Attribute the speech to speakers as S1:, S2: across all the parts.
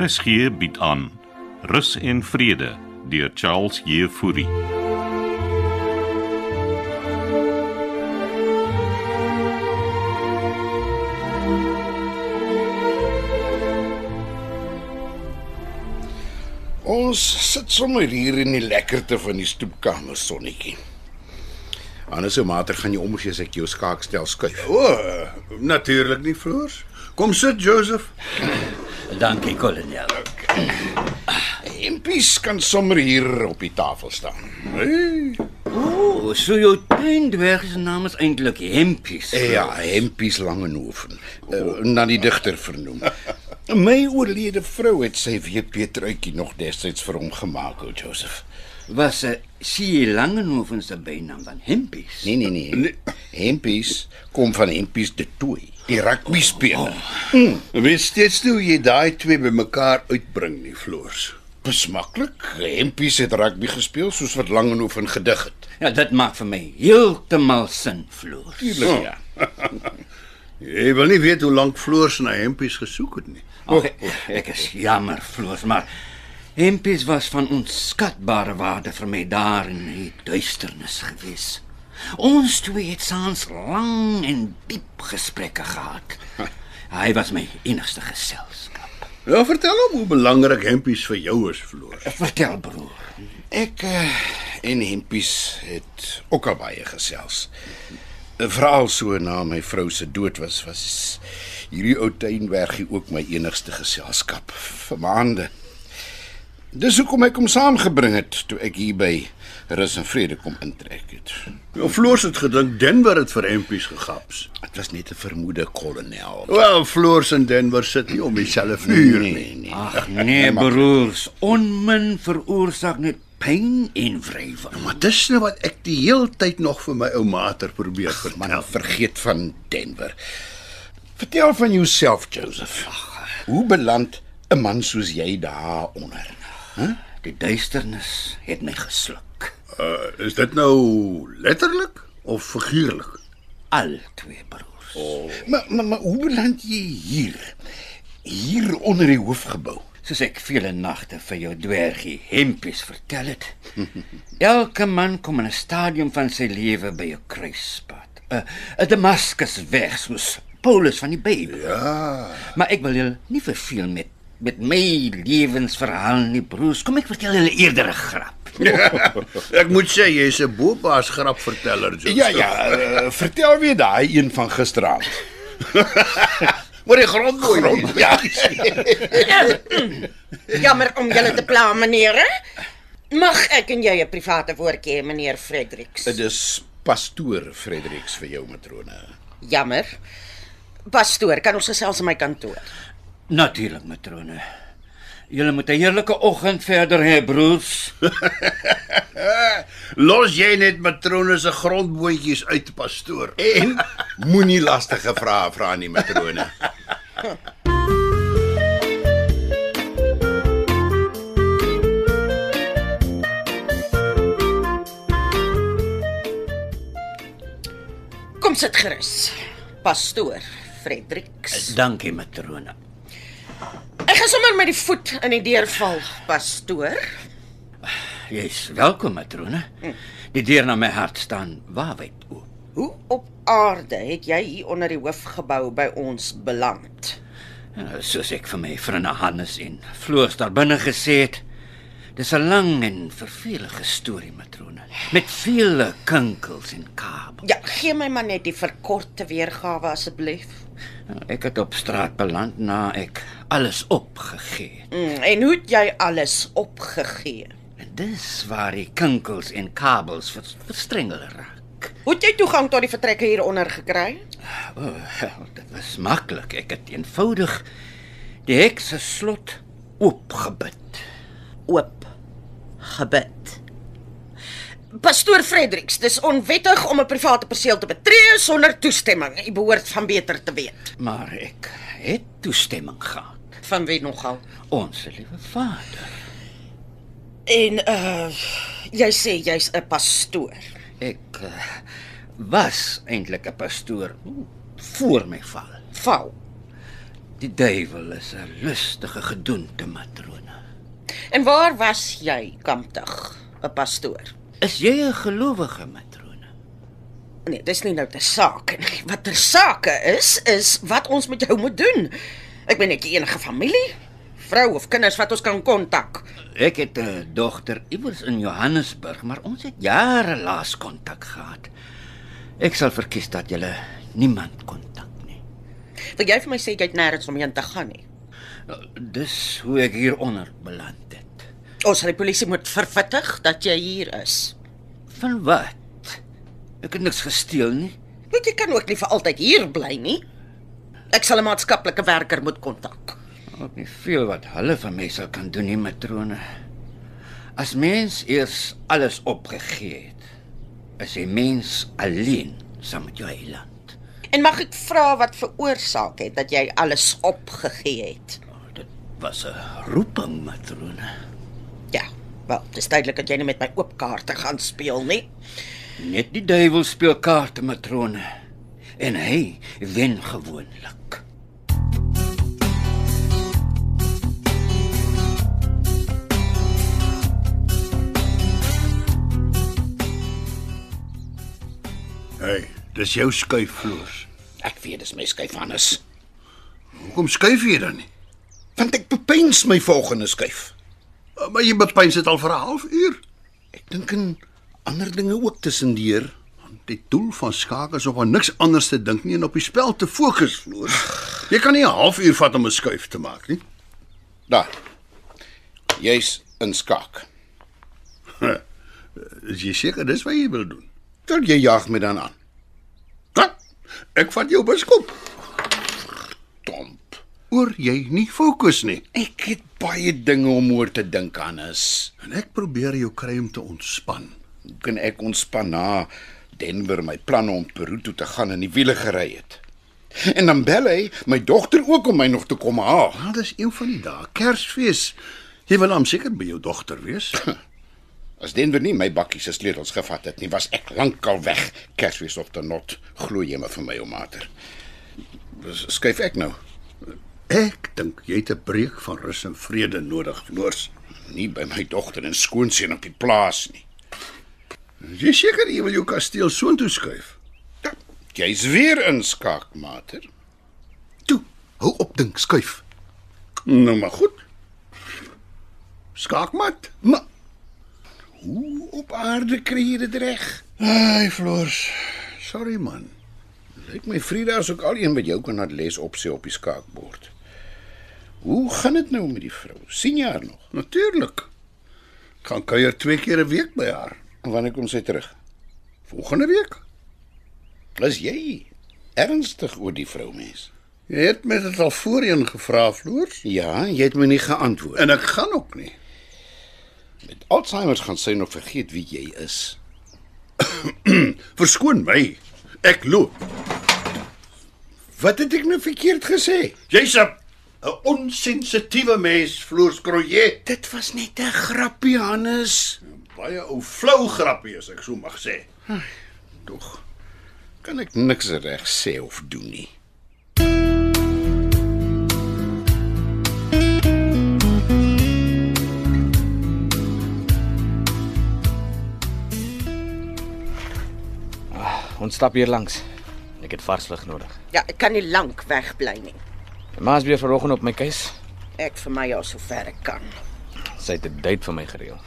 S1: RSG bied aan Rus en Vrede deur Charles Jefouri.
S2: Ons sit sommer hier in die lekkerte van die stoepkamer sonnetjie. Anders se mater gaan jy om as jy as ek jou skaakstel skuif.
S3: O, oh, natuurlik nie floors. Kom sit Joseph.
S4: Dankie, kolonel.
S2: Empies kan sommer hier op die tafel staan.
S3: Hey,
S4: O, Oh, so jou tuindwerg se naam is eintlik Hempies.
S2: Eh, Ja, Hempies Langehoven, uh, na die digter vernoem. My oorlede vrou het sy weetbeetruitjie nog destyds vir hom gemaak, ou Joseph.
S4: Was eh, sie Langenhoven se bynaam dan Hempies?
S2: Nee, nee, nee. Hempies kom van Hempies de Tooi, die rugby speler.
S3: Oh.
S2: Hmm.
S3: weet steeds nie hoe jy daai twee bymekaar uitbring nie floors.
S2: Besmaklik. Hempies het rugby gespeel soos wat Langehoven gedig het.
S4: Ja, dit maak vir my heeltemal Oh. sin, Floors.
S2: Tuurlik ja.
S3: Jy wil nie weet hoe lank floors na hempies gesoek het nie.
S2: Oh,
S4: Ag, ek is jammer, Floors, maar Hempies was van onskatbare waarde vir my daar in die duisternis gewees. Ons twee het saans lang en diep gesprekke gehad. Hy was my enigste geselskap.
S3: Ja, vertel hom hoe belangrik hempies vir jou is floors.
S2: Eh,
S4: Vertel broer.
S2: Ek eh, en Hempies het ook al baie gesels. Veral so na my vrou se dood was was hierdie ou tuinbergie ook my enigste geselskap vir maande. Dis hoekom ek hom saamgebring het toe ek hier by Rus en Vrede kom intrek het.
S3: Ja, floors het gedink Denver het vir hempies gegaps.
S2: Dit was net 'n vermoede kolonel.
S3: Wel, floors en Denver sit nie om dieselfde vuur nie. Ah.
S2: nee.
S4: Ag nee, broers, onmin veroorsaak net pyn en wrywing.
S3: Maar dis nou wat ek die heeltyd nog vir my ou mater probeer vertel.
S2: Man, vergeet van Denver. Vertel van jouself, Joseph. Hoe beland 'n man soos jy daaronder?
S4: Die duisternis het my gesluk.
S3: Uh, is dit nou letterlik of figuurlik?
S4: Al twee broers. Oh.
S2: Maar, maar, maar hoe beland jy hier? Hier onder die hoofgebou.
S4: Soos ek vele nagte vir jou dwergie hempies vertel het. Elke man kom in 'n stadium van sy lewe by 'n kruispunt. 'n 'n Damaskus weg soos Paulus van die Bybel.
S3: Ja.
S4: Maar ek wil julle nie verveel met met my lewensverhaal nie, broers. Kom ek vertel julle eerder 'n grap.
S3: Ek moet sê jy's 'n boepaas grapverteller, Joseph.
S2: Ja ja, uh, vertel weer daai een van gisteraand.
S3: Oor die grondboei. Grond.
S2: Ja.
S5: Jammer om julle te pla, meneer. hè? Mag ek en jy 'n private woordjie hê, meneer Fredericks?
S2: Dit is pastoor Fredericks vir jou matrone.
S5: Jammer. Pastoor, kan ons gesels in my kantoor?
S4: Natuurlik, matrone. Julle moet 'n heerlike oggend verder hê, broers.
S3: Los jy net matrone se grondboontjies uit, pastoor.
S2: En moenie lastige vrae vra aan die matrone.
S5: Kom sit gerus. Pastoor Fredericks.
S4: Dankie, matrone.
S5: Ek gaan sommer met die voet in die deur val, pastoor.
S4: Jy's welkom, matrone. Die deur na my hart staan waawyd oop.
S5: Hoe op aarde het jy hier onder die hoofgebou by ons beland?
S4: Ja, Soos ek vir my vriende Hannes en Floors daar binne gesê het, dis 'n lang en vervelige storie, matrone, met vele kinkels en kabels.
S5: Ja, gee my maar net die verkorte weergawe asseblief.
S4: Nou, Ek het op straat beland na ek alles opgegee het.
S5: Mm, en hoe het jy alles opgegee?
S4: En dis waar die kinkels en kabels vers- verstrengel raak.
S5: Hoe het jy toegang tot die vertrekke hieronder gekry?
S4: O, oh, dit was maklik. Ek het eenvoudig die hek se slot oopgebid.
S5: oop gebid. Pastoor Fredericks, dis onwettig om 'n private perseel te betree sonder toestemming. U behoort van beter te weet.
S4: Maar ek het toestemming gehad.
S5: Van wie nogal?
S4: Ons liewe Vader.
S5: En uh jy sê jy's 'n pastoor.
S4: Ek uh, was eintlik 'n pastoor o, voor my val.
S5: Val.
S4: Die duiwel is 'n lustige gedoente matrone.
S5: En waar was jy, kamptig, 'n pastoor?
S4: Is jy 'n gelowige matrone?
S5: Nee, dis nie nou 'n saak nie. Wat ter sake is, is wat ons met jou moet doen. Ek ben net enige familie, vrou of kinders wat ons kan kontak.
S4: Ek het 'n dogter iewers in Johannesburg, maar ons het jare laas kontak gehad. Ek sal verkies dat jy niemand kontak nie.
S5: Wil jy vir my sê jy het nêrens omheen te gaan nie?
S4: Eh, Dis hoe ek hieronder beland het.
S5: Ons sal die polisie moet verwittig dat jy hier is.
S4: Van wat? Ek het niks gesteel nie.
S5: Want jy kan ook nie vir altyd hier bly nie. Ek sal 'n maatskaplike werker moet kontak.
S4: Ook nie veel wat hulle van my sal kan doen nie, matrone. As mens eers alles opgegee het, is jy mens alleen saam met jou eiland.
S5: En mag ek vra wat veroorsaak het dat jy alles opgegee het?
S4: Dit was 'n roeping, matrone.
S5: Ja, wel, dis duidelik dat jy nie met my oop kaarte gaan speel nie.
S4: Net die duiwel speel kaarte, matrone. En hy wen gewoonlik.
S3: Hey, dis jou skuif floors.
S2: Ek weet dis my skuif anders.
S3: Hoekom skuif jy dan nie?
S2: Want ek bepeins my volgende skuif.
S3: Uh, Maar jy bepyns dit al vir 'n halfuur.
S2: Ek dink aan ander dinge ook tussendeur.
S3: Die doel van skaak is om aan niks anders te dink nie en op die spel te fokus floors. Jy kan nie 'n halfuur vat om 'n skuif te maak nie.
S2: Daar. Jy's in skaak.
S3: Is jy seker dis wat jy wil doen?
S2: Tot jy jag my dan aan.
S3: Ha? Ek vat jou beskop.
S2: Domp.
S3: Oor jy nie fokus nie.
S2: Ek het baie dinge om oor te dink aan is.
S3: En ek probeer jou kry om te ontspan.
S2: Hoe kan ek ontspan na Denver my planne om Peru toe te gaan in die wiele gery het? En dan bel hy my dogter ook om my nog te kom haal.
S3: Ah, dis een van die dae, Kersfees. Jy wil hom seker by jou dogter wees.
S2: As Denver nie my bakkie se sleutels gevat het nie, was ek lankal weg. Kersfees of te not, glo jy maar vir my ou mater. Dus Skuif ek nou,
S3: Ek dink jy het 'n breek van rus en vrede nodig, Floors.
S2: nie by my dogter en skoonseun op die plaas nie.
S3: Is Jy seker jy wil jou kasteel soontoe skuif?
S2: Ja, Jy's weer inskaak, mater.
S3: Toe, hou op dink, skuif.
S2: Nou maar goed,
S3: Skaakmat.
S2: maar hoe op aarde kry jy dit reg?
S3: Ai, Floors. Sorry man.
S2: Lyk my Frida is ook al een wat jou kan laat les opsê op die skaakbord. Hoe gaan dit nou met die vrou? sien jy haar nog?
S3: Natuurlik. Ek Gaan kuier twee keer 'n week by haar.
S2: Wanneer kom sy terug?
S3: Volgende week.
S2: Is jy ernstig oor die vrou mens?
S3: Jy het my dit al voorheen gevra, Floors,
S2: Ja, jy het my nie geantwoord.
S3: en ek gaan ook nie.
S2: Met Alzheimer gaan sy nog vergeet wie jy is.
S3: Verskoon my. Ek loop.
S2: Wat het ek nou verkeerd gesê?
S3: Jy's 'n 'n onsensitiewe mens, Floors Kroje.
S2: Dit was net 'n grappie, Hannes.
S3: Baie ou flou grappie as ek so mag sê.
S2: Tog. Kan ek niks reg sê of doen nie.
S6: Ons stap hier langs. Ek het vars lug nodig.
S5: Ja, ek kan nie lank wegbly nie.
S6: Maas weer vanoggend op my keus.
S5: Ek vir my al so ver ek kan.
S6: Sy het 'n date vir my gereël.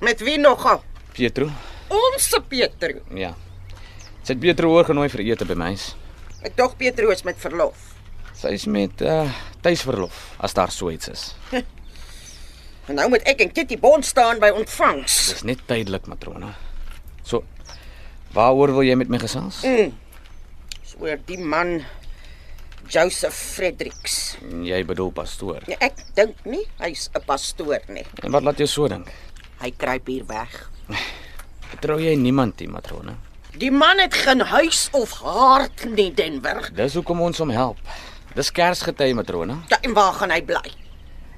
S5: Met wie nogal?
S6: Pietro?
S5: Ons se Petro.
S6: Ja. Sy het Pietro hoor genooi vir ete by my huis.
S5: Ek dog Petro is met verlof.
S6: Sy is met uh tuisverlof as daar so iets is.
S5: En nou moet ek en Kitty Bond staan by ontvangs.
S6: Dis net tydelik, matrone. So waaroor wil jy met my gesels?
S5: Dis oor die man Joseph Fredericks.
S6: Jy bedoel pastoor.
S5: Nee, ek dink nie hy's 'n pastoor nie.
S6: En wat laat jou so dink?
S5: Hy kruip hier weg.
S6: Vertrou jy niemand nie, matrone?
S5: Die man het geen huis of hart nie, Denver.
S6: Dis hoekom ons hom help. Dis Kersgety, matrone.
S5: Ja, en waar gaan hy bly?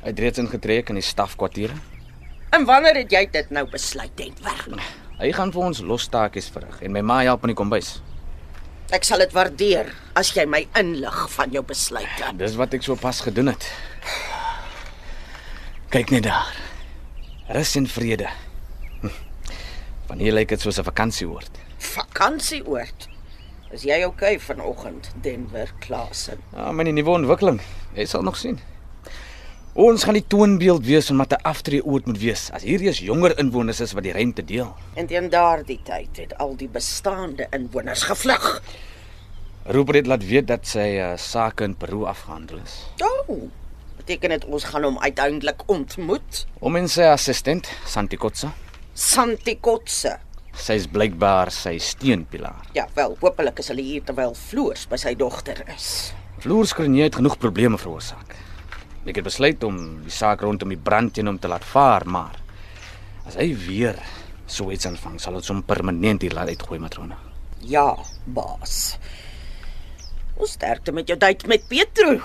S6: Hy het reeds ingetrek in die stafkwartiere.
S5: En wanneer het jy dit nou besluit, Denver?
S6: Hy gaan vir ons lostaakies verrig en my ma help in die kombuis.
S5: Ek sal dit waardeer as jy my inlig van jou besluite.
S6: Dis wat ek sopas gedoen het. Kyk net daar. Rus en vrede. Hm. Van hier lyk dit soos 'n vakansieoord.
S5: Vakansieoord. Is jy okay vanoggend, Denver Klasen?
S6: Ja, maar die nuwe ontwikkeling, jy sal nog sien. Ons gaan die toonbeeld wees van wat 'n aftreeoord moet wees as hier eens jonger inwoners is wat die ruimte deel.
S5: En teen daardie tyd het al die bestaande inwoners gevlug.
S6: Rupert het laat weet dat sy uh, sake in Peru afgehandel is.
S5: Oh, beteken dit ons gaan hom uiteindelik ontmoet?
S6: Om en sy assistent, Santikotsa,
S5: Santikotse.
S6: sy is blykbaar sy steunpilaar.
S5: Ja, wel, hopelik is hulle hier terwyl Floors by sy dogter is.
S6: Floors Kronje het genoeg probleme veroorsaak. Ek het besluit om die saak rondom die brand teen hom te laat vaar, maar as hy weer so iets aanvang, sal ons hom permanent hier laat uitgooi, matrone.
S5: Ja, baas. Ons sterkte met jou date met Petro.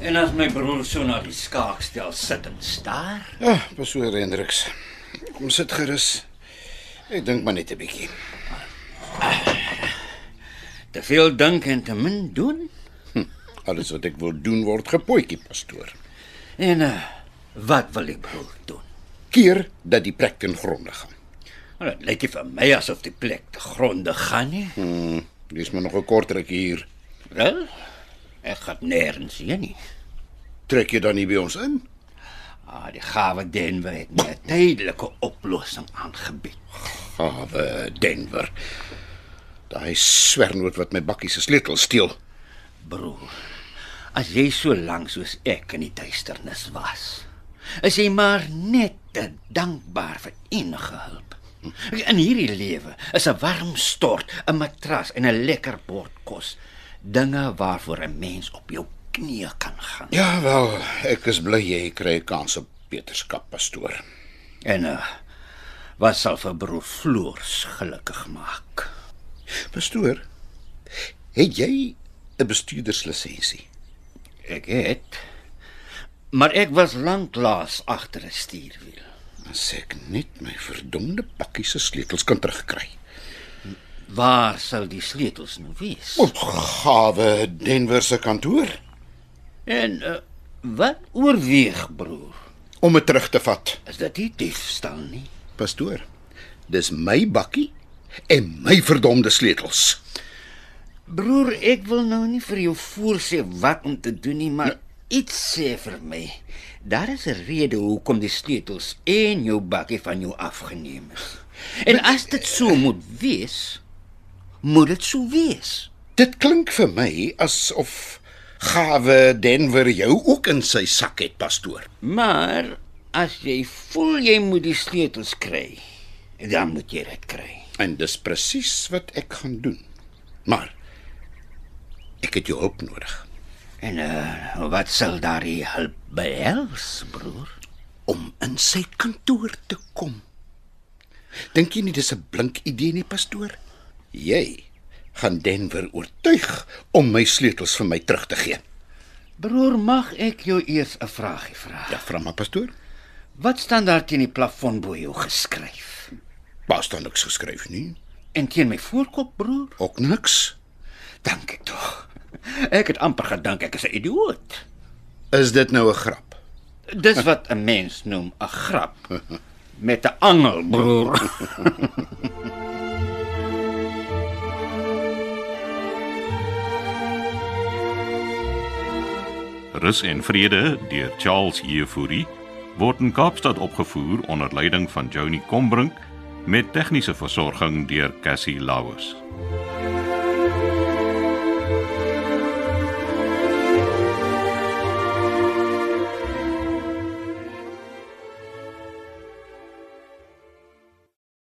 S4: En as my broer so na die skaakstel sit en staar,
S2: Ja,
S3: Ah,
S2: pas hoor Hendriks. Kom sit gerus. Ek dink maar net 'n bietjie.
S4: te veel dink en te min doen.
S2: Alles wat ek wil doen word gepootjie, pastoor.
S4: En uh, wat wil die broer doen?
S2: Keer dat die plek ten gronde gaan.
S4: Nou, dit lyk nie vir my asof die plek te gronde gaan nie.
S2: Hmm, dis maar nog 'n kort ruk hier.
S4: Wel? Ek gaan nêrens heen nie.
S2: Trek jy dan nie by ons in?
S4: Ah, die gawe Denver het my 'n tydelike oplossing aangebied.
S2: Gawe Denver. Daai swernoot wat my bakkie se sleutel steel.
S4: Broer, as jy so lank soos ek in die duisternis was, is jy maar net te dankbaar vir enige hulp. In hierdie lewe is 'n warm stort, 'n matras en 'n lekker bord kos dinge waarvoor 'n mens op jou knieë kan gaan.
S2: Ja wel, ek is bly jy kry 'n kans op Peterskap, pastoor.
S4: En uh, wat sal vir broer Floors gelukkig maak?
S2: Pastoor, het jy 'n bestuurderslisensie?
S4: Ek het maar ek was lanklaas agter 'n stuurwiel.
S2: As ek net my verdomde pakkie se sleutels kan terugkry.
S4: Waar sal die sleutels nou wees?
S2: Gawe Denver se kantoor
S4: En uh, wat oorweeg, broer?
S2: om dit terug te vat.
S4: Is dit nie diefstal nie?
S2: Pastoor, dis my bakkie en my verdomde sleutels.
S4: Broer, ek wil nou nie vir jou voorsê wat om te doen nie, maar iets sê vir my. Daar is 'n rede hoekom die sleutels en jou bakkie van jou afgeneem is. En as dit so moet wees, moet dit so wees.
S2: Dit klink vir my asof Gawe Denver jou ook in sy sak het, pastoor.
S4: Maar as jy voel jy moet die sleutels kry, dan moet jy dit kry.
S2: En dis presies wat ek gaan doen. Maar ek het jou hulp nodig
S4: En uh, wat sal daardie hulp behels, broer?
S2: om in sy kantoor te kom. Dink jy nie dis 'n blink idee nie, pastoor? Jy gaan Denver oortuig om my sleutels vir my terug te gee.
S4: Broer, mag ek jou eers 'n vraagie vra?
S2: Ja, vra maar pastoor.
S4: Wat staan daar teen die plafon bo jou geskryf?
S2: Pas dan niks geskryf nie.
S4: En teen my voorkop, broer?
S2: Ook niks.
S4: Dank ek tog. Ek het amper gedink ek is 'n idioot.
S2: Is dit nou 'n grap?
S4: Dis wat 'n mens noem 'n grap met 'n angel, broer.
S1: Rus en Vrede deur Charles Jefouri word in Kaapstad opgevoer onder leiding van Johnny Combrink met tegniese versorging deur Cassie Lauers.